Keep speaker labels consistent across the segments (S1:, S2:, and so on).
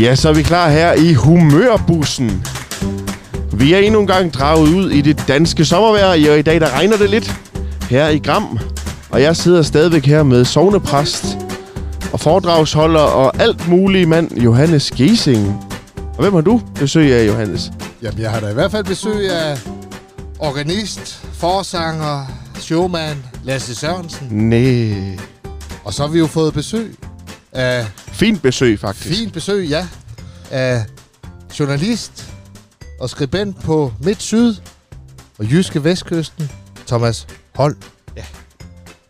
S1: Ja, så er vi klar her i humørbussen. Vi er endnu en gang draget ud i det danske sommervejr, og i dag der regner det lidt her i Gram. Og jeg sidder stadigvæk her med sovnepræst og foredragsholder og alt mulig mand, Johannes Gesing. Og hvem har du besøg af, Johannes?
S2: Jamen, jeg har da i hvert fald besøg af organist, forsanger, showman Lasse Sørensen.
S1: Næh.
S2: Og så har vi jo fået besøg af,
S1: Fint besøg, faktisk.
S2: fint besøg, ja, af journalist og skribent på Midt-Syd og Jyske Vestkysten, Thomas Holm.
S3: Ja.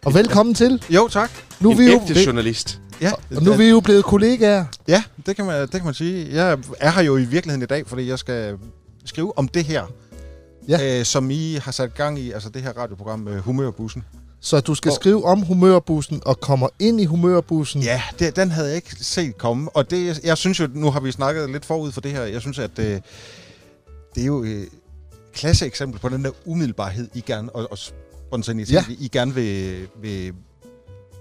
S2: Og velkommen til.
S3: Jo, tak.
S2: Nu er
S1: En
S2: vi jo,
S1: ægte journalist.
S3: Ja,
S2: og nu er vi jo blevet kollegaer.
S3: ja det, kan man, det kan man sige. Jeg er her jo i virkeligheden i dag, fordi jeg skal skrive om det her,
S2: Ja.
S3: ja. øh, som I har sat gang i, altså det her radioprogram øh, Humørbussen.
S2: Så du skal
S3: Og-
S2: skrive om humørbussen og kommer ind i humørbussen.
S3: Ja, det, den havde jeg ikke set komme, og det, jeg synes jo, nu har vi snakket lidt forud for det her, jeg synes, at øh, det er jo et klasseeksempel på den der umiddelbarhed, I gerne, og, og spontanitet,
S2: Ja.
S3: ja. I gerne vil, vil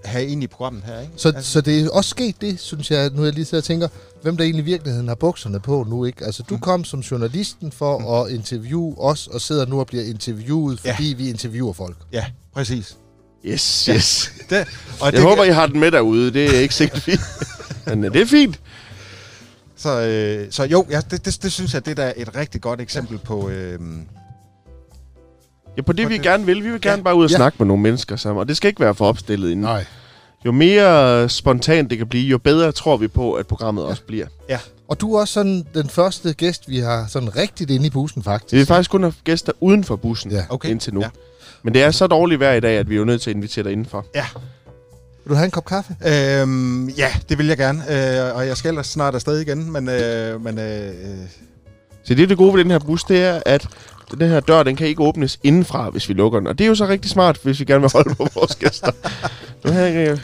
S3: have ind i programmet her, ikke?
S2: Så, altså. så det er også sket det, synes jeg, nu jeg lige sidder og tænker, hvem der egentlig i virkeligheden har bukserne på nu, ikke? Altså,
S1: Mm.
S2: du kom som journalisten for at interviewe os, og sidder nu og bliver interviewet,
S3: Ja.
S2: fordi vi interviewer folk.
S3: Ja, præcis.
S1: Yes, yes.
S3: Det, og
S1: Jeg håber, I har den med derude. Det er ikke sikkert fint. Men øh, det er fint.
S3: Så, øh, så jo, ja, det, det, det synes jeg, det der er da et rigtig godt eksempel på... Øh,
S1: Ja, på det,
S3: På
S1: vi
S3: det.
S1: gerne vil. Vi vil gerne
S3: Ja.
S1: bare ud og
S2: Ja.
S1: snakke med nogle mennesker sammen, og det skal ikke være for opstillet inden.
S2: Nej.
S1: Jo mere øh, spontant det kan blive, jo bedre tror vi på, at programmet også bliver.
S3: ja,
S2: Og du er også sådan den første gæst, vi har sådan rigtigt inde i bussen, faktisk.
S1: Vi vil faktisk kun have gæster uden for bussen ja.
S2: Ja.
S1: okay.
S3: Okay.
S1: indtil nu. Ja.
S3: Ja.
S1: Men det er så dårligt vejr i dag, at vi er jo nødt til at invitere dig indenfor.
S3: ja,
S2: Vil du have en kop kaffe?
S3: øh, ja, det vil jeg gerne. Øh, og jeg skal ellers snart afsted igen, men... Øh, men øh, øh,
S1: Så det, er det gode ved den her bus, det er, at den her dør, den kan ikke åbnes indenfra, hvis vi lukker den. Og det er jo så rigtig smart, hvis vi gerne vil holde på vores gæster. Nu har jeg, øh,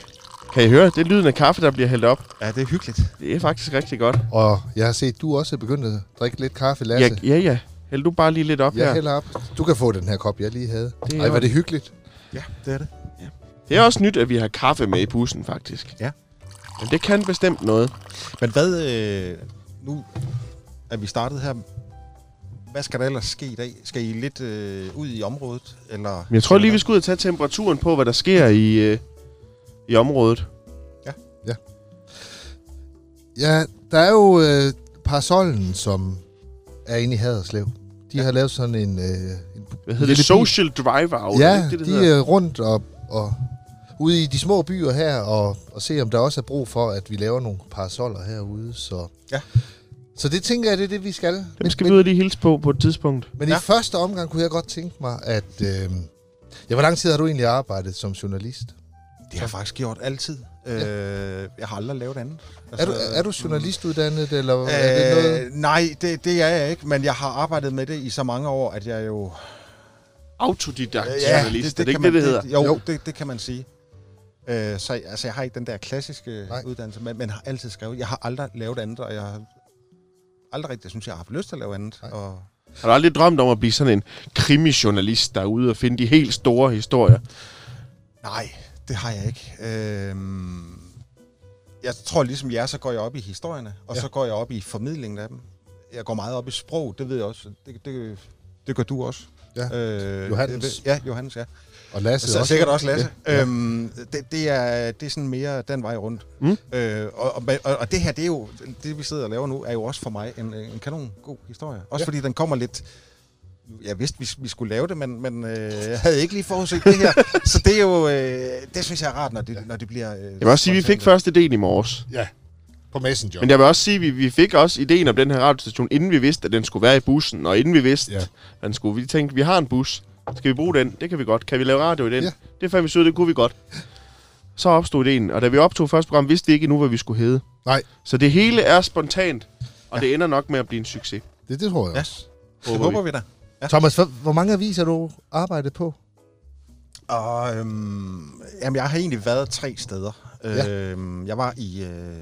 S1: kan I høre? Det er lyden af kaffe, der bliver hældt op.
S3: ja, det er hyggeligt.
S1: Det er faktisk rigtig godt.
S2: Og jeg har set, du også er begyndt at drikke lidt kaffe, Lasse.
S1: Ja, ja, ja. Hæld du bare lige lidt op
S2: Jeg
S1: her.
S2: hælder op. Du kan få den her kop, jeg lige havde.
S1: Det er
S2: Ej, var
S1: jo-
S2: det hyggeligt.
S3: Ja, det er det.
S1: Det er også nyt, at vi har kaffe med i bussen, faktisk.
S3: Ja.
S1: Men det kan bestemt noget.
S3: Men hvad... Øh, nu er vi startet her. Hvad skal der ellers ske i dag? Skal I lidt øh, ud i området? Eller,
S1: Men jeg tror lige, vi skal ud og tage temperaturen på, hvad der sker i, øh, i området.
S2: Ja, der er jo øh, parasollen, som er inde i Haderslev. De ja. har lavet sådan en, øh, en
S1: Hvad hedder det?
S2: lille bil.
S1: Social drive out.
S2: Ja,
S1: er det, ikke det, det
S2: de øh,
S1: hedder?
S2: er rundt og, og ude i de små byer her, og, og se, om der også er brug for, at vi laver nogle parasoller herude. Så,
S3: Ja.
S2: så det tænker jeg, det er det, vi skal.
S1: Dem skal vi
S2: men,
S1: ud og lige hilse på på et tidspunkt.
S2: men, men
S3: Ja.
S2: i første omgang kunne jeg godt tænke mig, at... Øh, ja, hvor lang tid har du egentlig arbejdet som journalist?
S3: Det har jeg faktisk gjort altid. Øh, jeg har aldrig lavet andet.
S2: Er du, er du journalistuddannet, eller øh, er det noget...
S3: Altså, Øh, nej, det, det er jeg ikke, men jeg har arbejdet med det i så mange år, at jeg jo...
S1: Autodidakt ja, journalist. Det, det, er det ikke det,
S3: kan
S1: det
S3: man,
S1: hedder?
S3: jo,
S2: Jo.
S3: jo. Det, det kan man sige. Øh, så jeg- altså, jeg har ikke den der klassiske
S2: Nej.
S3: nej. uddannelse, men, men har altid skrevet. Jeg har aldrig lavet andet, og jeg har aldrig rigtig synes, jeg har haft lyst til at lave andet.
S2: Nej.
S3: Og,
S1: Har du aldrig drømt om at blive sådan en krimijournalist, der er ude og finde de helt store historier?
S3: nej, det har jeg ikke. Øh, jeg tror ligesom jer, så går jeg op i historierne, og
S2: Ja.
S3: ja. så går jeg op i formidlingen af dem. Jeg går meget op i sprog, det ved jeg også. Det, det, det gør du også.
S2: Ja.
S3: Øh,
S2: Johannes.
S3: det- Ja, Johannes, ja.
S2: Og Lasse
S3: Så altså, sikkert også Lasse.
S2: Ja.
S3: Ja. Øhm, det, det, er, det er sådan mere den vej rundt.
S1: Mm.
S3: Øh, og, og, og, og det her, det er jo det vi sidder og laver nu, er jo også for mig en, øh, en kanon god historie.
S2: Ja.
S3: Også ja. fordi den kommer lidt... Jeg vidste, vi, vi skulle lave det, men, men øh, jeg havde ikke lige forudset det her. så det er jo... Øh, det synes jeg er rart, når det, når det bliver... Øh,
S1: Jeg vil også sige, at vi fik første idéen i morges.
S2: Ja, på Messenger.
S1: Men jeg vil også sige, at vi, vi fik også ideen om den her radiostation, inden vi vidste, at den skulle være i bussen, og inden vi vidste, ja.
S2: Ja.
S1: at den skulle. Vi tænkte, vi har en bus. Skal vi bruge den? Det kan vi godt. Kan vi lave radio i den? Ja.
S2: Ja.
S1: Det fandt vi så ud af, det kunne vi godt. Så opstod ideen, og da vi optog første program, vidste vi ikke endnu, hvad vi skulle hedde.
S2: Nej,
S1: Så det hele er spontant, og ja. det ender nok med at blive en succes.
S2: det, det tror jeg
S3: Ja.
S2: også.
S3: Det
S1: håber
S3: håber vi da.
S2: Ja. Thomas, hvor, hvor mange aviser har du arbejdet på?
S3: Og øhm, jamen, jeg har egentlig været tre steder.
S2: Ja.
S3: Øhm, jeg var i øh,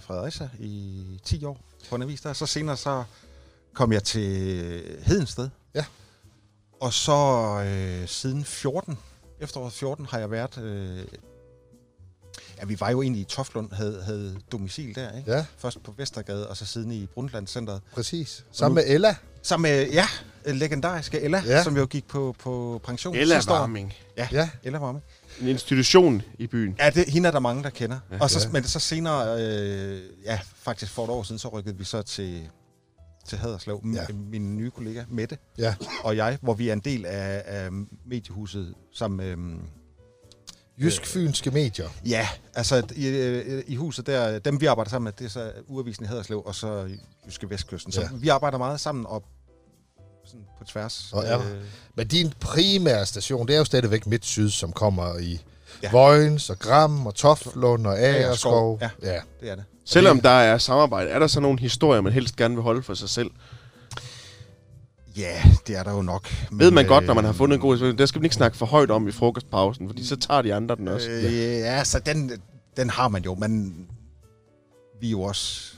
S3: Fredericia i 10 år på en avis der. Så senere så kom jeg til Hedensted.
S2: Ja.
S3: Og så øh, siden 14, efteråret 14, har jeg været... Øh, ja, ja, vi var jo egentlig i Toflund, havde, havde domicil der, ikke?
S2: Ja,
S3: Først på Vestergade, og så siden i Brundtlandscenteret.
S2: præcis. Sammen med Ella.
S3: Som, øh, ja, øh, legendariske Ella,
S2: Ja.
S3: ja. som jo gik på, på pension
S1: Eller
S3: sidste år.
S1: Warming.
S2: Ja,
S3: Ella Varme.
S1: En institution i byen.
S3: Ja, det, hende er der mange, der kender. Ja, og så,
S2: Ja.
S3: Men så senere, øh, ja, faktisk for et år siden, så rykkede vi så til, til Haderslev.
S2: Ja.
S3: Ja. Min nye kollega, Mette
S2: ja.
S3: og jeg, hvor vi er en del af, af mediehuset som... Øh,
S2: Jysk-fynske medier.
S3: ja, altså i, øh, i huset der, dem vi arbejder sammen med, det er så Urevisen i Haderslev og så Jyske Vestkysten. Så
S2: Ja.
S3: ja. vi arbejder meget sammen og sådan på tværs. øh,
S2: Og er- Men din primære station, det er jo stadigvæk Midt-Syd, som kommer i ja.
S3: Ja.
S2: Vojens og Gram og Toftlund og Agerskov.
S3: Agerskov, ja.
S2: ja.
S3: det er det.
S1: Selvom der er samarbejde, er der så nogle historier, man helst gerne vil holde for sig selv?
S3: Ja, det er der jo nok. Men,
S1: Ved man godt,
S3: øh,
S1: når man har fundet en god historie, der skal man ikke snakke for højt om i frokostpausen, fordi så tager de andre den også.
S3: Øh, ja. ja, så den, den har man jo, men vi er jo også...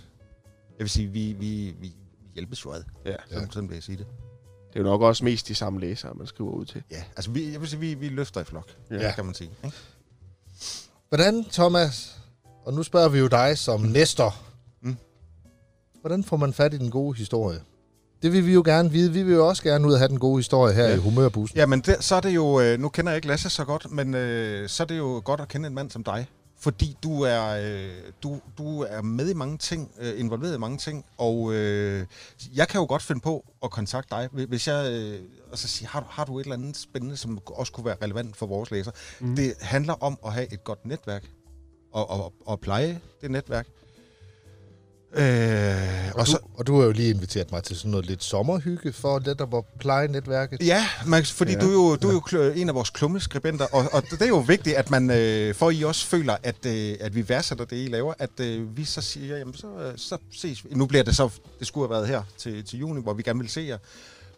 S3: Jeg vil sige, vi, vi, vi hjælpes jo ad,
S1: Ja.
S3: sådan, sådan vil jeg sige det.
S1: Det er jo nok også mest de samme læsere, man skriver ud til.
S3: Ja, altså vi, jeg vil sige, vi, vi løfter i flok,
S1: Ja.
S3: ja. kan man sige. Ikke?
S2: Hvordan, Thomas, og nu spørger vi jo dig som næster. Mm.
S3: Mm.
S2: Hvordan får man fat i den gode historie? Det vil vi jo gerne vide. Vi vil jo også gerne ud og have den gode historie her ja.
S3: Ja.
S2: i Humørbussen.
S3: Jamen, det, så er det jo... øh, Nu kender jeg ikke Lasse så godt, men øh, så er det jo godt at kende en mand som dig. Fordi du er, øh, du, du er med i mange ting, øh, involveret i mange ting, og øh, jeg kan jo godt finde på at kontakte dig, hvis- hvis jeg øh, altså siger, har, du- har du et eller andet spændende, som også kunne være relevant for vores læser. Mm. Det handler om at have et godt netværk, og, og, og pleje det netværk. Øh,
S2: Og, du, og du har jo lige inviteret mig til sådan noget lidt sommerhygge for netop at pleje netværket.
S3: Ja, Max, fordi
S1: Ja.
S3: ja. du er jo, du er jo kl- en af vores klummeskribenter, og, og det er jo vigtigt, at man, øh, for I også føler, at, øh, at vi værdsætter det, I laver, at øh, vi så siger, jamen så, øh, så ses vi. Nu bliver det så, det skulle have været her til, til juni, hvor vi gerne vil se jer,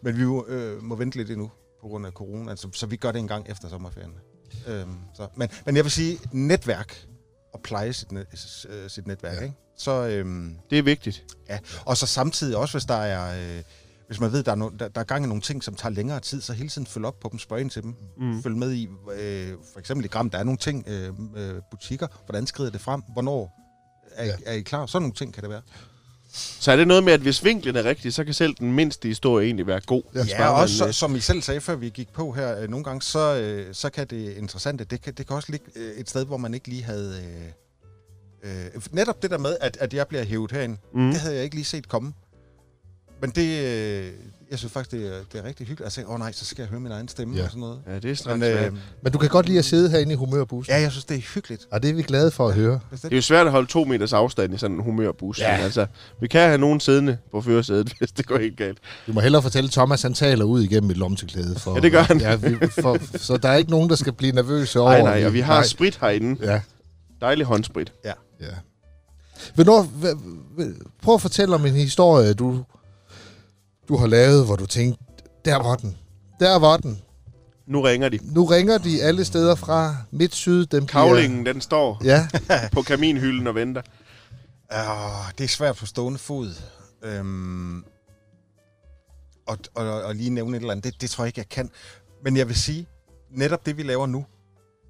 S3: men vi må, øh, må vente lidt endnu på grund af corona, altså, så, så vi gør det en gang efter sommerferien. Øhm, så. Men, men jeg vil sige, netværk, og pleje sit, net, s- øh, sit netværk,
S2: Ja.
S3: ja. ikke? Så, øhm,
S1: Det er vigtigt.
S3: Ja, og så samtidig også, hvis der er... Øh, hvis man ved, der er, no, der, der er gang i nogle ting, som tager længere tid, så hele tiden følg op på dem, spørg ind til dem. Mm. Følg med i, øh, for eksempel i Gram, der er nogle ting, øh, øh, butikker, hvordan skrider det frem, hvornår er,
S2: Ja.
S3: ja. er I klar? Sådan nogle ting kan det være.
S1: Så er det noget med, at hvis vinklen er rigtig, så kan selv den mindste historie egentlig være god.
S2: Ja.
S1: Hvis
S3: Ja,
S1: bare
S3: og
S1: man,
S3: også, så,
S1: øh,
S3: som I selv sagde, før vi gik på her, øh, nogle gange, så, øh, så kan det interessante, det kan, det kan også ligge øh, et sted, hvor man ikke lige havde... Øh, øh, netop det der med, at, at jeg bliver hævet herind,
S1: Mm.
S3: mm. det havde jeg ikke lige set komme. Men det... Øh, jeg synes faktisk, det er, det er rigtig hyggeligt. Altså, åh oh, nej, så skal jeg høre min egen stemme
S2: Ja.
S3: ja. og sådan noget.
S1: Ja, det er
S3: Men,
S1: straks
S3: øh,
S1: øh,
S2: Men du kan godt lide at sidde herinde i Humørbussen.
S3: ja, jeg synes, det er hyggeligt.
S2: Og det er vi glade for at høre.
S1: Det er jo svært at holde to meters afstand i sådan en humørbus. Ja. Altså, vi kan have nogen siddende på førersædet, hvis det går helt galt.
S2: Du må hellere fortælle, at Thomas han taler ud igennem et lomteklæde. For,
S1: Ja, det gør han.
S2: Ja, vi, for, så der er ikke nogen, der skal blive nervøse over...
S1: Nej, nej, og vi har
S2: Nej.
S1: sprit herinde.
S2: Ja,
S1: Dejlig håndsprit.
S2: ja. Hvornår, hva, hva- prøv at fortælle om en historie, du, du har lavet, hvor du tænkte, der var den. Der var den.
S1: Nu ringer de.
S2: Nu ringer de alle steder fra midt, syd, dem bliver-
S1: Kavlingen, den står
S2: Ja,
S1: på kaminhylden og venter.
S3: Åh, Ah, det er svært på stående fod. Øhm, og, og, og lige nævne et eller andet, det, det tror jeg ikke, jeg kan. Men jeg vil sige, netop det, vi laver nu,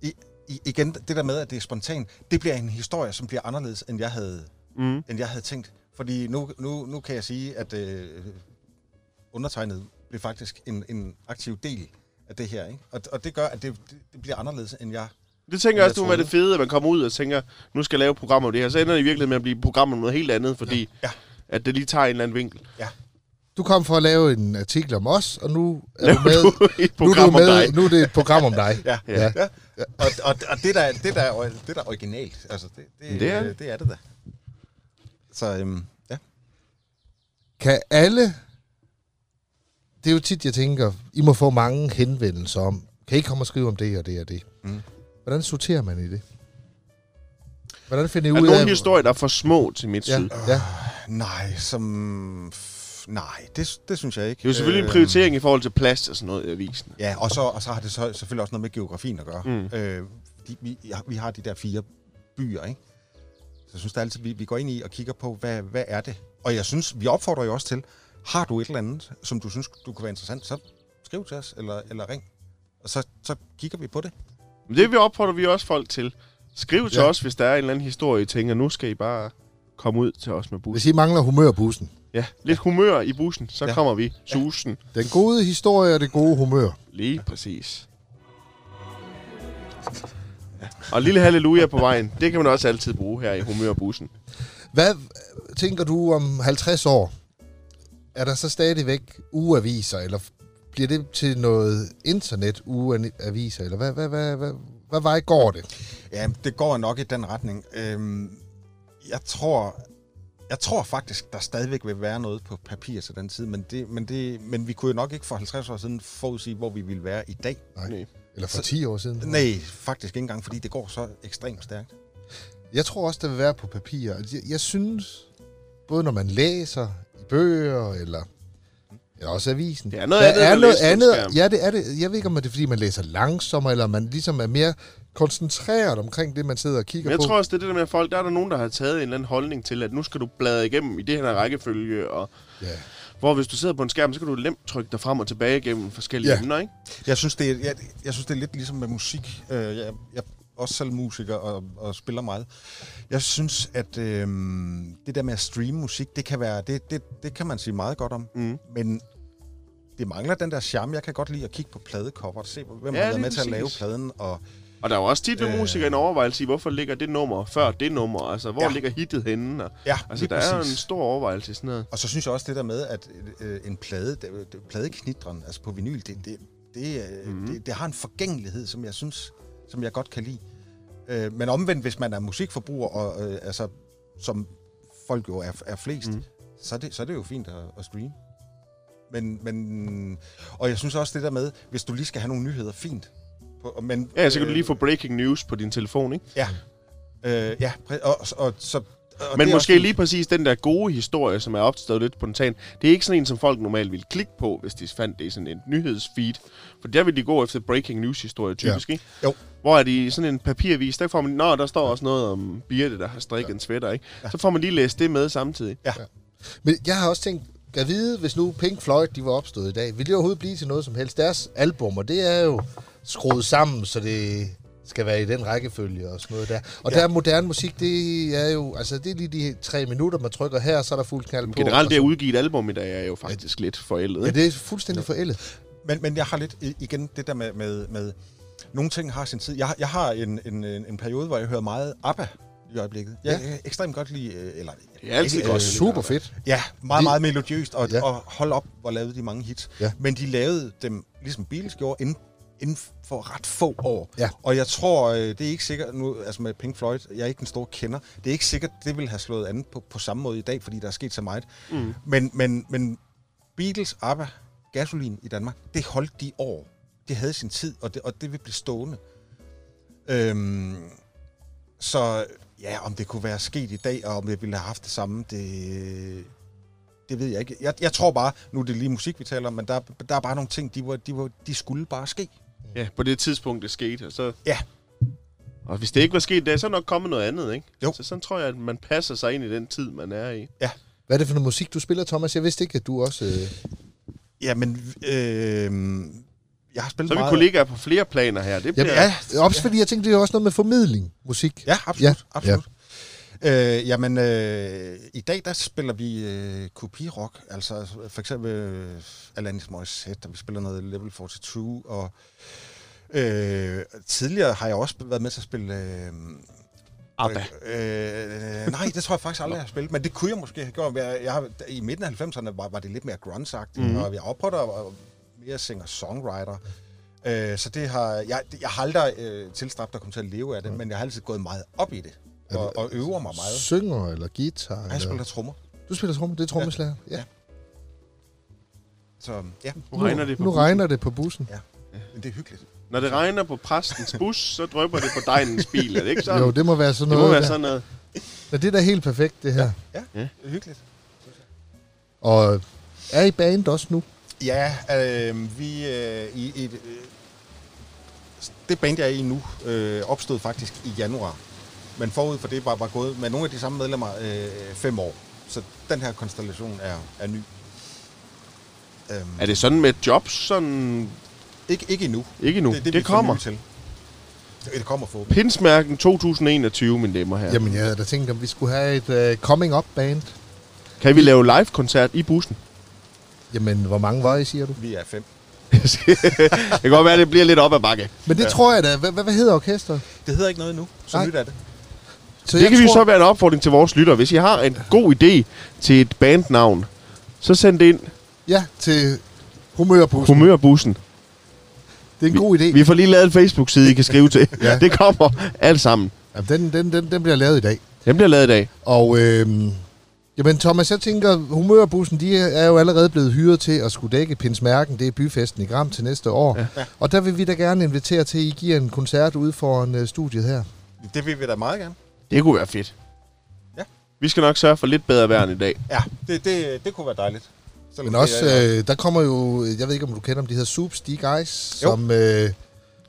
S3: i, i, igen, det der med, at det er spontant, det bliver en historie, som bliver anderledes, end jeg havde,
S1: Mm.
S3: end jeg havde tænkt. Fordi nu, nu, nu kan jeg sige, at øh, undertegnet blev faktisk en, en aktiv del af det her. Ikke? Og, og det gør, at det, det- det bliver anderledes, end jeg
S1: Det tænker jeg
S3: Jeg
S1: også, det må være
S3: troede.
S1: det fede, at man kommer ud og tænker, nu skal jeg lave et program om det her. Så ender det i virkeligheden med at blive programmet om noget helt andet, fordi
S3: Ja.
S1: at det lige tager en eller anden vinkel.
S2: du kom for at lave en artikel om os, og nu er du
S1: Laver
S2: med...
S1: du et
S2: nu, er
S1: program
S2: du
S1: om dig?
S2: nu er det et program om dig.
S3: Ja,
S2: Ja.
S3: ja. ja. ja. Og, og, og det, der, det, der, er- det der er originalt, altså det, det,
S1: Det
S3: det,
S1: er
S3: er.
S1: det.
S3: det er det da. Så øhm, ja.
S2: Kan alle... Det er jo tit, jeg tænker, I må få mange henvendelser om, kan I komme og skrive om det og det og det? Mm.
S3: Mm.
S2: Hvordan sorterer man i det? Hvordan finder I
S1: Er
S2: ud af...
S1: nogle historier, der er for små til mit
S2: ja,
S1: syd?
S2: ja,
S3: Nej, som... f- Nej, det, det synes jeg ikke. Øhm,
S1: Det er jo selvfølgelig
S3: Øh.
S1: en prioritering i forhold til plads og sådan noget i avisen.
S3: Ja, og så, og så har det så, selvfølgelig også noget med geografien at gøre.
S1: Mm.
S3: Mm. Øh, fordi vi, ja, vi har de der fire byer, ikke? Så jeg synes da altid, vi, vi går ind i og kigger på, hvad, hvad er det? Og jeg synes, vi opfordrer jo også til, har du et eller andet, som du synes, du kunne være interessant, så skriv til os, eller, eller ring. Og så, så kigger vi på det.
S1: Men det vi opfordrer vi også folk til. Skriv til
S2: Ja.
S1: ja. os, hvis der er en eller anden historie, I tænker, nu skal I bare komme ud til os med bussen.
S2: Hvis I mangler humørbussen.
S1: Ja, lidt humør i bussen, så
S3: Ja.
S1: ja. kommer vi. Susen.
S2: Den gode historie og det gode humør.
S1: Lige præcis. Og en lille halleluja på vejen. Det kan man også altid bruge her i humørbussen.
S2: Hvad tænker du om 50 år? Er der så stadigvæk ugeaviser, eller bliver det til noget internet ugeaviser, eller hvad, hvad, hvad, hvad, hvad vej går det?
S3: Ja, det går nok i den retning. Øhm, jeg tror... Jeg tror faktisk, der stadigvæk vil være noget på papir til den tid, men, det, men, det, men vi kunne jo nok ikke for 50 år siden forudsige, hvor vi ville være i dag.
S1: Nej.
S2: Eller for
S3: Så-
S2: 10 år siden?
S3: Nej, faktisk ikke engang, fordi det går så ekstremt stærkt.
S2: Jeg tror også, det vil være på papir. Altså, Jeg, jeg synes, både når man læser i bøger, eller, eller også avisen.
S1: Det er noget andet,
S2: der
S1: end
S2: er
S1: at
S2: noget
S1: læse på
S2: andet.
S1: skærm.
S2: Ja, det er det. Jeg ved ikke, om det er, fordi man læser langsommere, eller man ligesom er mere koncentreret omkring det, man sidder og kigger
S1: Men jeg
S2: på.
S1: tror også, det er det der med at folk. Der er der nogen, der har taget en eller anden holdning til, at nu skal du bladre igennem i det her rækkefølge. Og
S2: Ja.
S1: hvor hvis du sidder på en skærm, så kan du nemt trykke dig frem og tilbage igennem forskellige
S2: Ja.
S1: ja. emner, ikke?
S3: Jeg synes, det er, jeg, jeg synes, det er lidt ligesom med musik. Øh, jeg, jeg er også selv musiker og, og spiller meget. Jeg synes, at øh, det der med at streame musik, det kan, være, det, det, det kan man sige meget godt om.
S1: Mm.
S3: Men det mangler den der charme. Jeg kan godt lide at kigge på pladecover og se, hvem
S1: Ja,
S3: ja, har været
S1: lige
S3: med til at lave
S1: præcis.
S3: pladen. Og,
S1: Og der er jo også tit ved
S3: Øh.
S1: musikere en overvejelse i, hvorfor ligger det nummer før det nummer? Altså, hvor
S3: Ja.
S1: ja. ligger hittet henne? Og,
S3: ja,
S1: altså, der er jo en stor overvejelse i sådan noget.
S3: Og så synes jeg også det der med, at øh, en plade, det, det, pladeknitren, altså på vinyl, det, det, det,
S1: Mhm.
S3: mm. det, det har en forgængelighed, som jeg synes, som jeg godt kan lide. Øh, men omvendt, hvis man er musikforbruger, og, øh, altså, som folk jo er, er flest,
S1: Mhm.
S3: mm. så, er det, så er det jo fint at, at streame. Men, men, og jeg synes også det der med, hvis du lige skal have nogle nyheder, fint. På, men,
S1: Ja, så kan du lige få breaking news på din telefon, ikke?
S3: Ja, øh, ja præ- og, og, så, og
S1: Men
S3: det er
S1: måske
S3: også-
S1: lige præcis den der gode historie, som er opstået lidt spontant, det er ikke sådan en, som folk normalt ville klikke på, hvis de fandt det i sådan en nyhedsfeed. For der vil de gå efter breaking news-historier typisk, ja. ikke?
S3: Jo.
S1: Hvor er de i sådan en papiravis, der får man, nå, der står også noget om Birte, der har strikket ja. en sweater, ikke? Så får man lige læst det med samtidig.
S2: Men jeg har også tænkt, kan vide, hvis nu Pink Floyd de var opstået i dag, ville det overhovedet blive til noget som helst? Deres albumer, det er jo skruet sammen, så det skal være i den rækkefølge og sådan noget der. Og ja. der er moderne musik, det er jo, altså det er lige de tre minutter, man trykker her, så er der fuld knald på.
S1: Generelt
S2: og
S1: det at
S2: så-
S1: udgive et album i dag er jo faktisk lidt forældet,
S2: Ja,
S1: ikke?
S2: det er fuldstændig forældet.
S3: Men, men jeg har lidt i- igen det der med, med, med nogle ting har sin tid. Jeg, har- jeg har en, en, en en periode, hvor jeg hører meget ABBA i øjeblikket. Jeg
S2: Ja.
S3: ja. kan ekstremt godt lide, øh, eller øh,
S1: Det er altid
S2: Det er
S1: godt.
S2: super fedt.
S3: ja, meget,
S2: De-
S3: meget melodiøst, og,
S2: Ja.
S3: ja. og hold op, hvor lavede de mange hits.
S2: Ja.
S3: Men de lavede dem, ligesom Beatles gjorde, inden, inden for ret få år.
S2: Ja.
S3: Og jeg tror, øh, det er ikke sikkert, nu, altså med Pink Floyd, jeg er ikke en stor kender, det er ikke sikkert, det ville have slået an på, på samme måde i dag, fordi der er sket så meget. Mm. Men, men, men Beatles, ABBA, Gasoline i Danmark, det holdt de år. Det havde sin tid, og det, og det vil blive stående. Øhm, så ja, om det kunne være sket i dag, og om jeg ville have haft det samme, det, det ved jeg ikke. Jeg, jeg tror bare, nu er det lige musik, vi taler om, men der, der er bare nogle ting, de, var, de, var, de skulle bare ske.
S1: Ja, på det tidspunkt, det skete. Og, så,
S3: Ja.
S1: og hvis det ikke var sket i dag, så er nok kommet noget andet, ikke?
S3: Jo.
S1: Så sådan tror jeg, at man passer sig ind i den tid, man er i.
S2: Hvad er det for noget musik, du spiller, Thomas? Jeg vidste ikke, at du også... Øh...
S3: Ja, men øh, jeg har spillet
S1: Så er vi
S3: meget...
S1: kollegaer på flere planer her. Det bliver...
S2: Jamen, ja, også fordi jeg tænkte, det er jo også noget med formidling, musik.
S3: Ja,
S2: Ja.
S3: absolut. absolut. Ja. Øh, jamen, øh, i dag der spiller vi øh, kopirock, altså for eksempel øh, Alanis Morissette, og vi spiller noget Level 42, og øh, tidligere har jeg også været med til at spille... Øh,
S1: ABBA.
S3: Øh, øh, nej, det tror jeg faktisk aldrig, jeg har spillet, men det kunne jeg måske have gjort. Jeg, jeg har, I midten af 90'erne var, var det lidt mere grunge-agtigt,
S1: Mhm.
S3: mm. og jeg oprøtter og mere singer-songwriter. Øh, så det har, jeg, det- jeg har aldrig øh, tilstræbt at komme til at leve af det, men jeg har altid gået meget op i det, og, og øver mig meget.
S2: Synger eller guitar?
S3: Jeg
S2: Eller...
S3: spiller trommer,
S2: Du spiller tromme, det er trommeslager. Ja. ja.
S3: så ja,
S1: Nu regner det på
S2: nu regner det på bussen.
S3: men det er hyggeligt.
S1: Når det regner på præstens bus, så drøber det på dejens bil, er det ikke sådan?
S2: Jo, det må være sådan
S1: det
S2: noget.
S1: må være
S2: der.
S1: sådan noget.
S2: Ja, det er da helt perfekt, det her. Ja.
S3: Ja,
S1: Ja.
S3: det er hyggeligt.
S2: Og øh, er I band også nu?
S3: Ja, øh, vi øh, i, i et, øh, det band, jeg er i nu, øh, opstod faktisk i januar. Men forud for det var, var gået med nogle af de samme medlemmer øh, fem år. Så den her konstellation er, er ny. Øhm,
S1: Er det sådan med jobs? Sådan...
S3: ikke, ikke endnu.
S1: Ikke nu. Det, det, det kommer.
S3: Til. Det kommer for.
S1: Pinsmærken 2021, mine damer her.
S2: Jamen, jeg havde da tænkt, om vi skulle have et uh, coming-up-band.
S1: Kan vi lave live-koncert i bussen?
S2: Jamen, hvor mange var I, siger du?
S3: Vi er fem.
S1: det kan godt være, det bliver lidt op ad bakke.
S2: Men det ja. tror jeg da. Hvad, hvad hvad hedder orkestret?
S3: Det hedder ikke noget nu, så
S2: Nej.
S3: nyt er det.
S2: Så
S1: Det
S2: jeg
S1: kan vi
S2: tror-
S1: så være en opfordring til vores lyttere. Hvis I har en god idé til et bandnavn, så send det ind.
S2: Ja, til humørbussen. Humør.
S1: Humørbussen.
S2: Det er en god idé.
S1: Vi får lige lavet en Facebook-side, I kan skrive til. ja.
S2: Ja.
S1: Det kommer alt sammen.
S2: Jamen, den, den, den, den bliver lavet i dag.
S1: Den bliver lavet i dag.
S2: Og øhm, jamen, Thomas, jeg tænker, humørbussen, de er jo allerede blevet hyret til at skulle dække Pinsmærken. Det er byfesten i Gram til næste år. Ja. Og der vil vi da gerne invitere til, at I giver en koncert ude foran øh, studiet her.
S3: Det vil vi da meget gerne.
S1: Det kunne være fedt.
S3: Ja.
S1: Vi skal nok sørge for lidt bedre vejr end i dag.
S3: Ja, det, det, det kunne være dejligt. Selvom
S2: Men
S3: det
S2: også,
S3: er-
S2: øh, der kommer jo, jeg ved ikke, om du kender dem, de hedder Soup Stick Guys,
S3: Jo.
S2: som, øh,
S1: De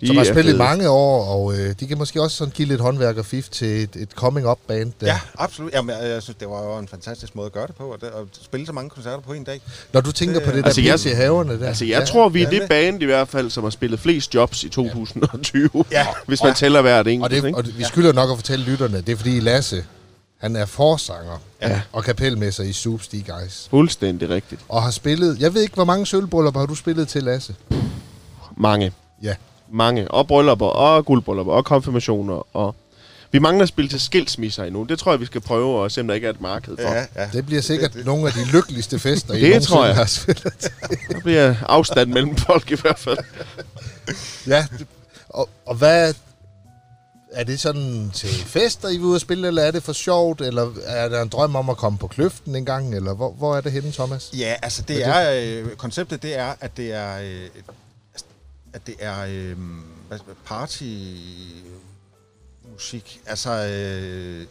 S2: som har
S1: er
S2: spillet i
S1: fede.
S2: mange år, og øh, de kan måske også sådan give lidt håndværk og fif til et, et coming-up-band. der.
S3: Ja, absolut. Jamen, jeg, jeg synes, det var jo en fantastisk måde at gøre det på, og det, at spille så mange koncerter på en dag.
S2: Når du tænker
S3: Det-
S2: på det
S1: Altså,
S2: der
S1: jeg-
S2: pisse i haverne der.
S1: Altså, jeg ja, tror, vi er
S3: ja.
S1: det band i hvert fald, som har spillet flest jobs i 2020.
S3: Ja.
S1: Hvis man
S3: Ja.
S1: tæller hvert
S2: Og,
S1: enkelt,
S2: det,
S1: ikke?
S2: og det, vi skylder nok at fortælle lytterne, det er fordi Lasse, han er forsanger
S1: Ja.
S2: og kapelmester i Soup Stick Guys.
S1: Fuldstændig rigtigt.
S2: Og har spillet, jeg ved ikke, hvor mange sølvbryllupper har du spillet til, Lasse?
S1: Mange.
S2: Ja.
S1: Mange. Og bryllupper, og guldbryllupper, og konfirmationer, og... Vi mangler at spille til skilsmisser endnu. Det tror jeg, vi skal prøve at se, om der ikke er et marked for. Ja.
S3: ja.
S2: Det bliver sikkert nogle af de lykkeligste fester, I
S1: Det
S2: nogensinde
S1: tror jeg.
S2: har spillet til.
S1: Der bliver afstand mellem folk i hvert fald.
S2: Ja, det- og, og hvad... Er det sådan til fester, I vil ud og spille, eller er det for sjovt? Eller er der en drøm om at komme på kløften en gang? Eller hvor, hvor er det henne, Thomas?
S3: Ja, altså det
S2: Hvad
S3: er, øh, konceptet det er, at det er, øh, altså, at det er øh, hvad- hvad- party musik, altså øh,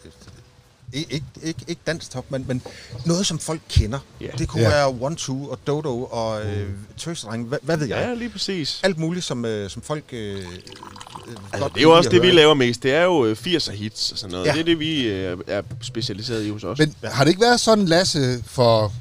S3: i- ikke, ikke, ikke danstop, men, men noget, som folk kender.
S1: Ja.
S3: Det kunne
S2: Ja.
S3: være One Two og Dodo og øh, Tøsdreng, hvad, hvad ved jeg?
S1: Ja, lige præcis.
S3: Alt muligt, som, øh, som folk øh, øh,
S1: Altså,
S3: godt
S1: det er jo
S3: kan
S1: også
S3: lide
S1: det, vi
S3: at høre.
S1: laver mest. Det er jo øh, 80'er hits og sådan noget. Ja.
S3: Ja.
S1: Det er det, vi øh, er specialiseret i hos os.
S2: Men har det ikke været sådan, Lasse, for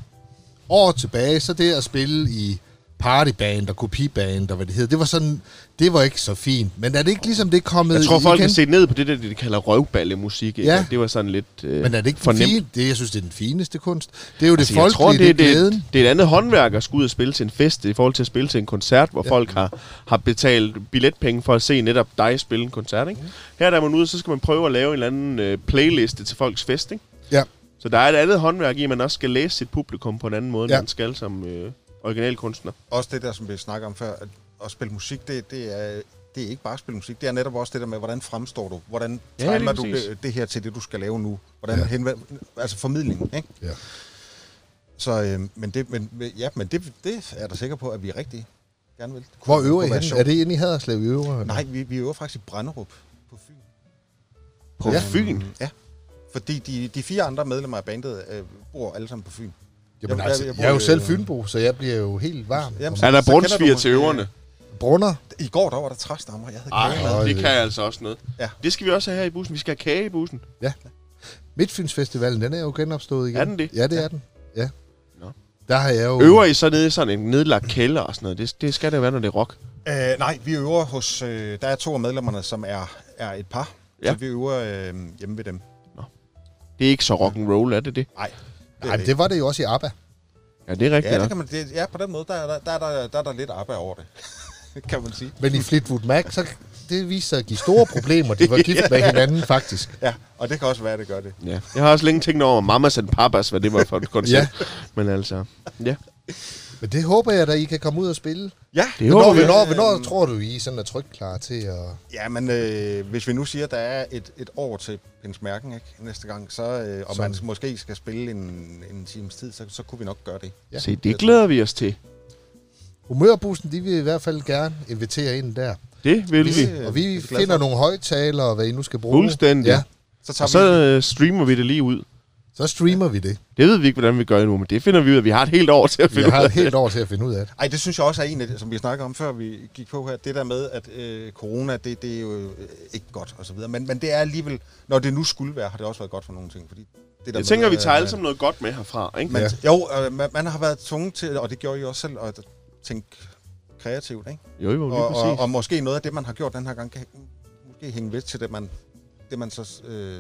S2: år tilbage, så det at spille i partyband og kopiband og hvad det hedder, det var sådan, det var ikke så fint. Men er det ikke ligesom det er kommet
S1: jeg tror, folk
S2: igen?
S1: kan se ned på det der, de kalder røvballemusik. ikke?
S2: Ja.
S1: Det var sådan lidt øh,
S2: Men er det ikke for
S1: fornemt.
S2: fint? Det, jeg synes, det er den fineste kunst. Det er jo altså, det
S1: Altså, jeg
S2: folkelige,
S1: tror, det, er-
S2: det er
S1: det,
S2: glæden.
S1: det, det er et andet håndværk at skulle ud og spille til en fest, i forhold til at spille til en koncert, hvor ja. folk har, har betalt billetpenge for at se netop dig spille en koncert. Ikke? Her der er man ude, så skal man prøve at lave en eller anden øh, playliste til folks fest. Ikke?
S2: Ja.
S1: Så der er et andet håndværk i, at man også skal læse sit publikum på en anden måde, end
S2: Ja.
S1: man skal som øh, originalkunstner.
S3: også det der, som vi snakker om før, at, at spille musik, det, det, er, det er ikke bare at spille musik, det er netop også det der med, hvordan fremstår du? Hvordan
S1: Ja, lige
S3: timer ja, du
S1: præcis.
S3: det, det her til det, du skal lave nu? Hvordan ja. henvend, altså formidlingen, ikke?
S2: Ja.
S3: Så, øh, men, det, men, ja, men det, det er jeg da sikker på, at vi er rigtig gerne vil. Det kunne-
S2: Hvor
S3: kunne
S2: øver I
S3: være
S2: henne?
S3: sjovt.
S2: Er det inde i Haderslev i øver?
S3: Nej, vi, vi øver faktisk i Branderup på Fyn. Øhm,
S1: På
S2: Ja.
S1: ja. Fyn?
S3: Ja, fordi de, de fire andre medlemmer af bandet øh, bor alle sammen på Fyn.
S2: Jamen,
S3: Jeg-
S2: altså,
S3: jeg-
S2: jeg,
S3: jeg
S2: jeg, er jo
S3: bor i-
S2: selv Fynbo, så jeg bliver jo helt varm.
S3: Jamen,
S2: Jamen,
S1: Er der
S3: Så kender du
S1: brunsviger
S3: måske-
S1: til øverne?
S2: Brunner?
S3: I går der var der træstammer, jeg havde
S1: Ej,
S3: glædet mig.
S1: det kan jeg altså også noget.
S3: Ja.
S1: Det skal vi også have her i bussen. Vi skal have kage i bussen.
S2: Ja. Midtfynsfestivalen, den er jo genopstået igen.
S1: Er den det?
S2: Ja, det er den. Ja.
S1: Nå.
S2: Der har jeg jo...
S1: Øver I så nede i sådan en nedlagt kælder og sådan noget? Det, det skal det være, når det er rock.
S3: Øh, nej, vi øver hos... Øh, der er to af medlemmerne, som er, er et par.
S1: Ja.
S3: Ja. Så vi øver øh, hjemme ved dem.
S1: Det er ikke så rock and roll, er det det?
S3: Nej.
S2: Ej, men det var det jo også i ABBA.
S1: Ja, det er rigtigt.
S3: Ja,
S1: nok.
S3: det kan man, det, ja, på den måde, der er der, der, er der, der, er der lidt arbejde over det, kan man sige.
S2: Men i Fleetwood Mac, så det viste sig at give store problemer. De var gift med hinanden, faktisk.
S3: Ja, og det kan også være, at det gør det.
S1: Ja. Jeg har også længe tænkt over Mamas and Papas, hvad det var for et koncept. ja. Men altså, ja.
S2: Men det håber jeg da, I kan komme ud og spille.
S3: Ja,
S1: Det
S2: Hvornår,
S1: håber vi.
S2: hvornår, hvornår tror du, I sådan er trygt klar til at...
S3: Ja, men øh, hvis vi nu siger, at der er et, et år til Pinsmærken ikke, næste gang, så, øh, og man
S2: Sådan.
S3: måske skal spille en, en times tid, så, så kunne vi nok gøre det.
S2: Ja.
S1: Se, det glæder vi os til.
S2: Humørbussen, de vil i hvert fald gerne invitere ind der.
S1: Det vil vi.
S3: Det er
S2: Og vi
S3: jeg glad
S2: finder
S3: for.
S2: nogle højtalere, og hvad I nu skal bruge.
S1: Fuldstændig.
S2: Ja,
S3: Så tager
S1: Og
S3: så,
S1: så
S3: vi...
S1: øh, streamer vi det lige ud.
S2: så streamer vi det.
S1: Det ved vi ikke, hvordan vi gør endnu, men det finder vi ud af. Vi har et helt år til at
S2: Vi
S1: finde
S2: har
S1: ud
S2: et
S1: af det.
S2: helt år til at finde ud af det.
S3: Ej, det synes jeg også er en af det, som vi snakkede om, før vi gik på her. Det der med, at øh, corona, det, det er jo øh, ikke godt og så videre. Men, men det er alligevel, når det nu skulle være, har det også været godt for nogle ting. Fordi det der
S1: Jeg tænker,
S3: med,
S1: vi tager
S3: øh,
S1: alle sammen noget godt med herfra, ikke?
S3: Man, ja. Jo, øh, man, man har været tvunget til, og det gjorde I også selv, at tænke kreativt, ikke?
S1: Jo, jo, lige
S3: Og, og,
S1: præcis.
S3: og måske noget af det, man har gjort den her gang, kan måske hænge ved til det, man, det man så... Øh,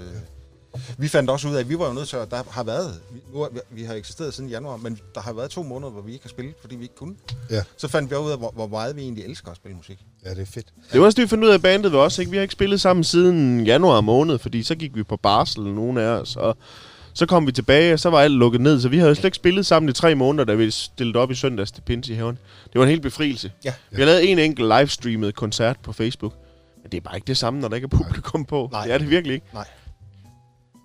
S3: vi fandt også ud af, at vi var jo nødt til at... Der har været... Vi, nu har, vi har eksisteret siden januar, men der har været to måneder, hvor vi ikke har spillet, fordi vi ikke kunne.
S2: Ja.
S3: Så fandt vi også ud af, hvor, hvor meget vi egentlig elsker at spille musik.
S2: Ja, det er fedt.
S1: Det var også det, vi fandt ud af bandet ved os, ikke? Vi har ikke spillet sammen siden januar måned, fordi så gik vi på barsel, nogle af os, og så kom vi tilbage, og så var alt lukket ned, så vi havde jo slet ikke spillet sammen i tre måneder, da vi stillede op i søndags til Pinse i haven. Det var en helt befrielse.
S3: Ja.
S1: Vi har lavet en enkelt livestreamet koncert på Facebook, men det er bare ikke det samme, når der ikke er publikum på.
S3: Nej.
S1: Det er det virkelig ikke.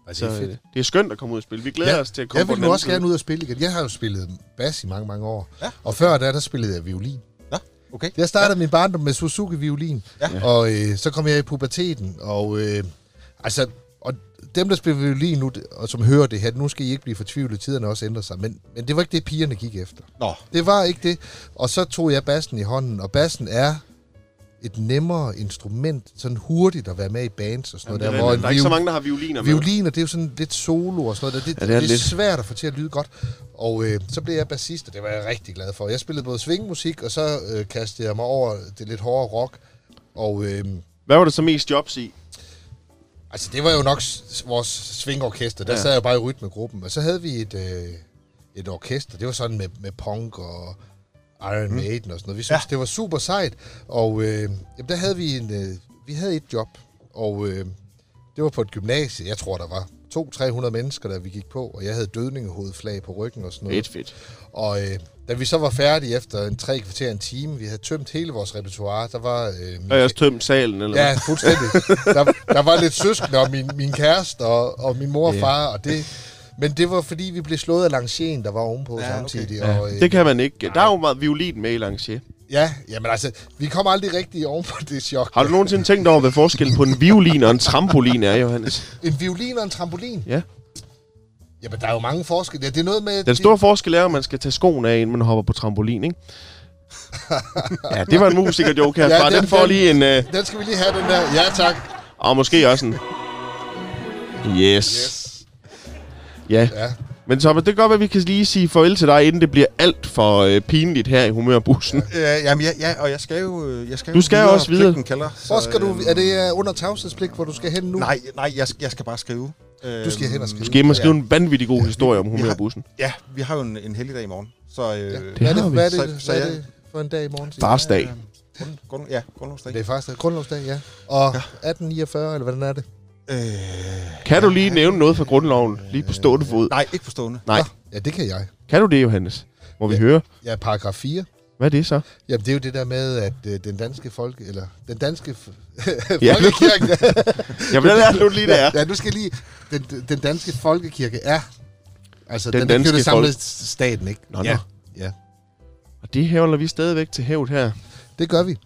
S2: Altså,
S1: Så,
S2: det er fedt.
S1: øh, det er skønt at komme ud og spille. Vi glæder
S2: Ja,
S1: os til at komme
S2: Jeg
S1: på
S2: vil
S1: den
S2: nu
S1: anden
S2: også
S1: side.
S2: gerne ud og spille igen. Jeg har jo spillet bas i mange, mange år.
S3: Ja.
S2: Og før da, der spillede jeg violin.
S3: Nå, okay.
S2: Jeg startede ja. min barndom med Suzuki-violin,
S3: Ja.
S2: og øh, så kom jeg i puberteten, og, øh, altså, og dem, der spiller violin nu, og som hører det her, nu skal I ikke blive fortvivlet, tiderne også ændrer sig, men, men det var ikke det, pigerne gik efter.
S3: Nå,
S2: Det var ikke det. Og så tog jeg bassen i hånden, og bassen er et nemmere instrument, sådan hurtigt at være med i bands og sådan
S1: Der,
S2: noget. hvor en
S1: der er ikke så
S2: viol-
S1: mange, der har violiner med.
S2: Violiner, det er jo sådan lidt solo og sådan noget. Der. Det,
S1: Ja,
S2: ja,
S1: det
S2: det,
S1: er
S2: er, det er
S1: lidt.
S2: svært at få til at lyde godt. Og øh, så blev jeg bassist, og det var jeg rigtig glad for. Jeg spillede både swingmusik, og så øh, kastede jeg mig over det lidt hårdere rock. Og øh,
S1: Hvad var det så mest jobs i?
S2: altså, det var jo nok s- vores swingorkester. Der
S1: Ja.
S2: ja. sad jeg jo bare i rytmegruppen. Og så havde vi et, øh, et orkester. Det var sådan med, med punk og Iron
S1: Mm.
S2: Maiden og sådan noget. Vi synes ja. det var super sejt. Og øh, jamen, der havde vi en, øh, vi havde et job, og øh, det var på et gymnasie. Jeg tror, der var 200-300 mennesker, der vi gik på, og jeg havde dødningehovedflag på ryggen og sådan noget.
S1: Fedt, fedt.
S2: Og øh, da vi så var færdige efter en tre kvarter en time, vi havde tømt hele vores repertoire, der var... Øh,
S1: Og jeg har også tømt salen, eller hvad?
S2: Ja, fuldstændig. Der, der var lidt søskende, og min, min kæreste, og, og min mor og far, og det... Men det var, fordi vi blev slået af Langen, der var ovenpå
S3: Ja,
S2: ja,
S3: okay.
S2: samtidig. Okay. Og, øh,
S1: Det kan man ikke. Der er jo meget violin med i Langier.
S2: Ja, jamen altså, vi kom aldrig rigtig ovenpå det chok.
S1: Har du nogensinde tænkt over, hvad forskellen på en violin og en trampolin er, Johannes?
S2: En violin og en trampolin?
S1: Ja.
S2: Jamen, der er jo mange forskelle. Ja, det er noget med...
S1: Den store forskel er, at man skal tage skoen af, inden man hopper på trampolin, ikke? ja, det var en musiker joke her.
S2: Ja,
S1: Ja, den,
S2: den-
S1: den får
S2: den-
S1: lige en... Øh,
S2: Den skal vi lige have, den der. Ja, tak.
S1: og måske også en... Yes. yes. Ja.
S2: Ja.
S1: Men Thomas, det kan godt være, at vi kan lige sige farvel til dig, inden det bliver alt for øh, pinligt her i humørbussen. Ja.
S3: øh, jamen, ja, ja, og jeg skal jo... øh, Jeg skal
S1: Du skal
S3: jo
S1: også videre.
S3: pligten Kalder, så,
S2: Hvor skal du...
S3: øh,
S2: Er det øh, under tavshedspligt, hvor du skal hen nu?
S3: Nej, nej jeg, jeg skal bare skrive. Øh,
S2: Du skal hen og skrive.
S1: Skal man skrive en vanvittig god historie om humørbussen?
S3: Ja, vi har jo en, en helligdag i morgen. Så øh, ja.
S2: Hvad er
S1: har
S2: det,
S1: vi.
S2: hvad er det,
S3: Så-
S2: hvad
S3: så
S2: er
S3: jeg-
S2: det for en dag i morgen? siger du?
S1: Farsdag.
S3: Grund, grund, ja, grundlovsdag.
S2: Det er faktisk grundlovsdag, ja. Og 1849, eller hvordan er det?
S3: Øh,
S1: Kan du lige nævne noget fra grundloven, lige på stående fod?
S3: nej, ikke forstående.
S1: Nej.
S2: Nå, Ja, det kan jeg.
S1: Kan du det, Johannes? Må vi
S2: Ja.
S1: høre?
S2: Ja, paragraf 4.
S1: Hvad er det så?
S2: Jamen, det er jo det der med, at øh, den danske folk... Eller den danske f-
S1: Ja.
S2: folkekirke...
S1: Jamen, det er nu lige det er.
S2: Ja, nu skal jeg lige... Den, den danske folkekirke er... Altså,
S1: Den
S2: den, den danske
S1: danske
S2: det samlede staten, ikke?
S1: Nå, nå.
S2: ja. ja.
S1: Og det hævler vi stadigvæk til hævd her.
S2: Det gør vi.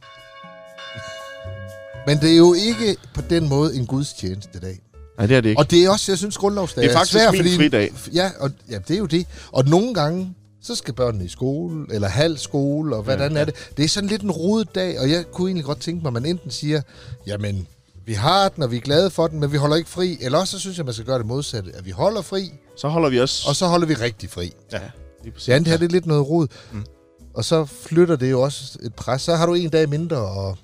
S2: Men det er jo ikke på den måde en gudstjeneste dag.
S1: Nej, det er det ikke.
S2: Og det er også, jeg synes, grundlovsdag
S1: Det er faktisk
S2: svær,
S1: min
S2: fordi,
S1: fridag.
S2: Ja, og, ja, det er jo det. Og nogle gange, så skal børnene i skole, eller halv skole, og hvordan ja, er det. Det er sådan lidt en rodet dag, og jeg kunne egentlig godt tænke mig, at man enten siger, jamen, vi har den, og vi er glade for den, men vi holder ikke fri. Eller også, så synes jeg, man skal gøre det modsatte, at vi holder fri,
S1: Så holder vi også...
S2: og så holder vi rigtig fri.
S3: Ja.
S1: lige præcis.
S2: Det andet her, det er lidt noget rod. Mm. Og så flytter det jo også et pres. Så har du en dag mindre, og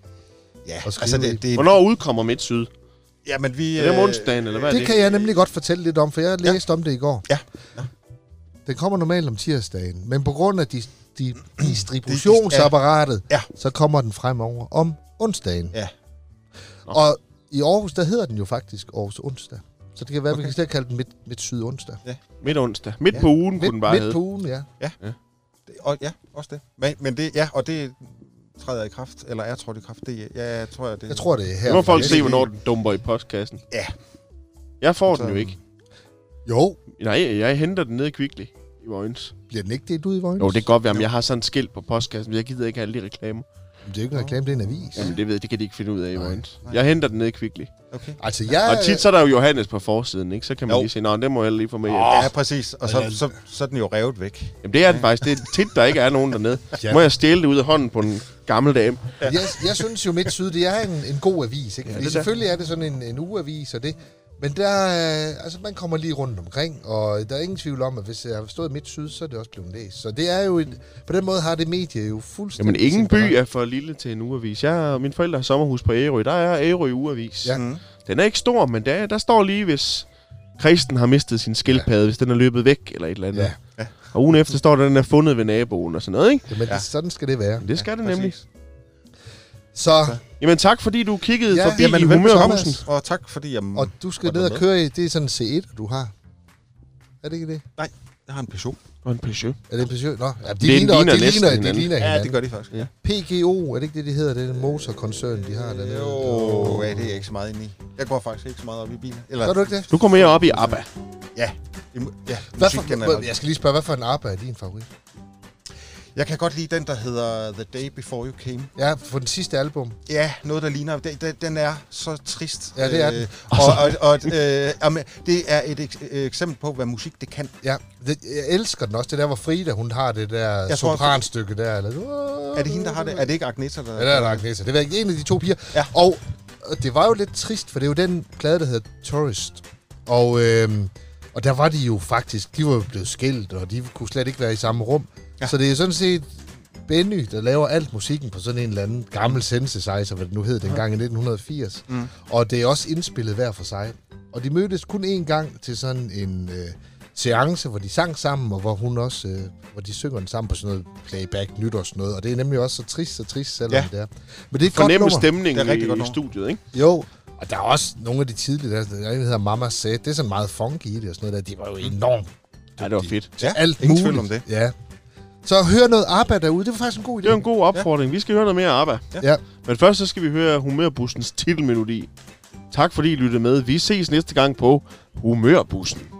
S3: Ja,
S2: Og skrive
S3: altså
S2: i-
S3: det... det
S1: Hvornår udkommer Midtsyd?
S3: ja, men vi... øh,
S1: Er det om onsdagen, eller hvad er
S2: det
S1: det?
S2: kan jeg nemlig godt fortælle lidt om, for jeg læste om det i går.
S3: Ja.
S2: Den kommer normalt om tirsdagen, men på grund af dis- di- distributionsapparatet,
S3: Ja.
S2: så kommer den fremover om onsdagen.
S3: Ja.
S1: Nå.
S2: Og i Aarhus, der hedder den jo faktisk Aarhus onsdag. Så det kan være, okay. vi
S3: Okay.
S2: kan slet kalde den midt, midt syd onsdag.
S1: Midt onsdag. Midt på ugen kunne
S2: Midt,
S1: den bare
S2: midt på
S1: hedde.
S2: ugen, ja.
S3: Det, og, ja, også det. Men, men det, ja, og det træder i kraft, eller er trådt i kraft. Det, ja, jeg tror, jeg, det...
S2: Jeg tror, det er her.
S1: Nu må folk
S2: Ja.
S1: se, hvornår den dumper i postkassen.
S3: Ja.
S1: Jeg får den
S3: Så-
S1: jo ikke.
S2: Jo,
S1: Nej, jeg henter den nede i Kvickly i Vojens.
S2: bliver den ikke delt ud i Vojens?
S1: Jo, det kan godt være, om jeg har sådan et skilt på postkassen, men jeg gider ikke have alle de reklamer.
S2: det er jo ikke en reklame, det er en avis.
S1: Jamen, det ved jeg, det kan de ikke finde ud af i Vojens.
S3: nej.
S1: Jeg henter den nede i Kvickly.
S3: Okay.
S2: Altså, jeg...
S1: Og tit så er der jo Johannes på forsiden, ikke? Så kan man
S3: Jo.
S1: lige sige, nej, det må jeg lige få med hjem.
S3: Ja, præcis. Og så,
S2: Ja.
S3: så, så, er den jo revet væk.
S1: Jamen, det er den faktisk. Det er tit, der ikke er nogen dernede.
S2: Ja.
S1: Må jeg stjæle det ud af hånden på en gammel dame?
S2: jeg, jeg synes jo, Midt Syd, det er en, en god avis. Ikke? Fordi
S1: det er.
S2: selvfølgelig er det sådan en, en ugeavis, og det, Men der, øh, altså, man kommer lige rundt omkring, og der er ingen tvivl om, at hvis jeg har forstået midt syd, så er det også blevet læst. Så det er jo et, på den måde har det medie jo fuldstændig...
S1: Jamen, ingen
S2: sin
S1: by
S2: balance.
S1: er for lille til en ugeavis. Jeg og mine forældre har sommerhus på Ærø. Der er Ærø ugeavis.
S2: Ja.
S3: Mm.
S1: Den er ikke stor, men der, der står lige, hvis Kristen har mistet sin skildpadde, ja. hvis den er løbet væk eller et eller andet.
S2: Ja.
S1: Ja. Og ugen efter står der, den er fundet ved naboen og sådan noget, ikke?
S2: Jamen,
S3: Ja.
S2: ja. sådan skal det være.
S1: Men det skal ja, det
S3: præcis.
S1: nemlig.
S2: Så,
S1: Jamen tak, fordi du kiggede ja,
S2: Ja,
S1: forbi
S2: jamen,
S1: jamen, i
S3: velbekomme,
S1: humørhusen.
S3: Og tak fordi jeg,
S2: og du skal
S3: Var der
S2: ned og
S3: noget?
S2: køre i, det er sådan en C1, du har. Er det ikke det?
S3: jeg har en Peugeot.
S1: Og en Peugeot.
S2: Er det en Peugeot? Nå, ja, de,
S1: ligner
S2: ligner,
S1: næsten
S2: de, ligner, de
S1: hinanden.
S2: ligner
S3: Ja,
S2: hinanden.
S3: det gør de faktisk. Ja.
S2: PGO, er det ikke det, de hedder? Det er den motorkoncern, de har dernede.
S3: Jo, ja, det er jeg ikke så meget inde i. Jeg går faktisk ikke så meget op i biler. Eller,
S2: Gør du ikke det?
S1: Nu kommer jeg op i ABBA.
S3: Ja, i, mu- ja
S2: Hvad
S3: musik
S2: for,
S3: generelt.
S2: jeg skal lige spørge, hvad for en ABBA er din favorit?
S3: Jeg kan godt lide den, der hedder The Day Before You Came.
S2: Ja, for den sidste album.
S3: Ja, noget, der ligner. Den, den, den er så trist.
S2: Ja, det er den.
S3: Øh, og, og, og, øh, jamen, det er et eks- øh, eksempel på, hvad musik det kan.
S2: Ja, det, jeg elsker den også. Det der, hvor Frida, hun har det der
S3: Jeg tror,
S2: sopranstykke der. Eller,
S3: Er det hende, der har det? Er det ikke Agneta, der...
S2: Ja, der er der Agnese. Det var en af de to piger.
S3: Ja.
S2: Og og det var jo lidt trist, for det er jo den plade, der hedder Tourist. Og, øhm, og der var de jo faktisk, de var jo blevet skilt, og de kunne slet ikke være i samme rum.
S3: Ja.
S2: Ja. Så det er sådan set Benny, der laver alt musikken på sådan en eller anden gammel synthesizer, hvad det nu hed dengang i 1980.
S3: Mm.
S2: Mm. Og det er også indspillet hver for sig. Og de mødtes kun én gang til sådan en øh, seance, hvor de sang sammen, og hvor hun også, øh, hvor de synger den sammen på sådan noget playback nyt og sådan noget. Og det er nemlig også så trist, så trist, selvom
S3: Ja.
S2: ja. det er. Men det er et godt
S1: Fornemme
S2: nummer.
S1: stemningen
S3: Det er rigtig
S1: i,
S3: godt
S1: i
S3: nummer.
S1: studiet, ikke?
S2: Jo, og der er også nogle af de tidlige, der, der er en, der hedder Mama Said. Det er sådan meget funky i det og sådan noget der. De var jo enormt
S1: Ja, det var fedt.
S2: til
S3: Mm. Ja,
S2: alt
S3: ingen
S2: muligt.
S3: tvivl om det.
S2: Ja. Så hør noget arbejde derude. Det var faktisk en god idé.
S1: Det var en god opfordring. Vi skal høre noget mere ABBA.
S2: Ja.
S1: Men først så skal vi høre Humørbussens titelmelodi. Tak fordi I lyttede med. Vi ses næste gang på Humørbussen.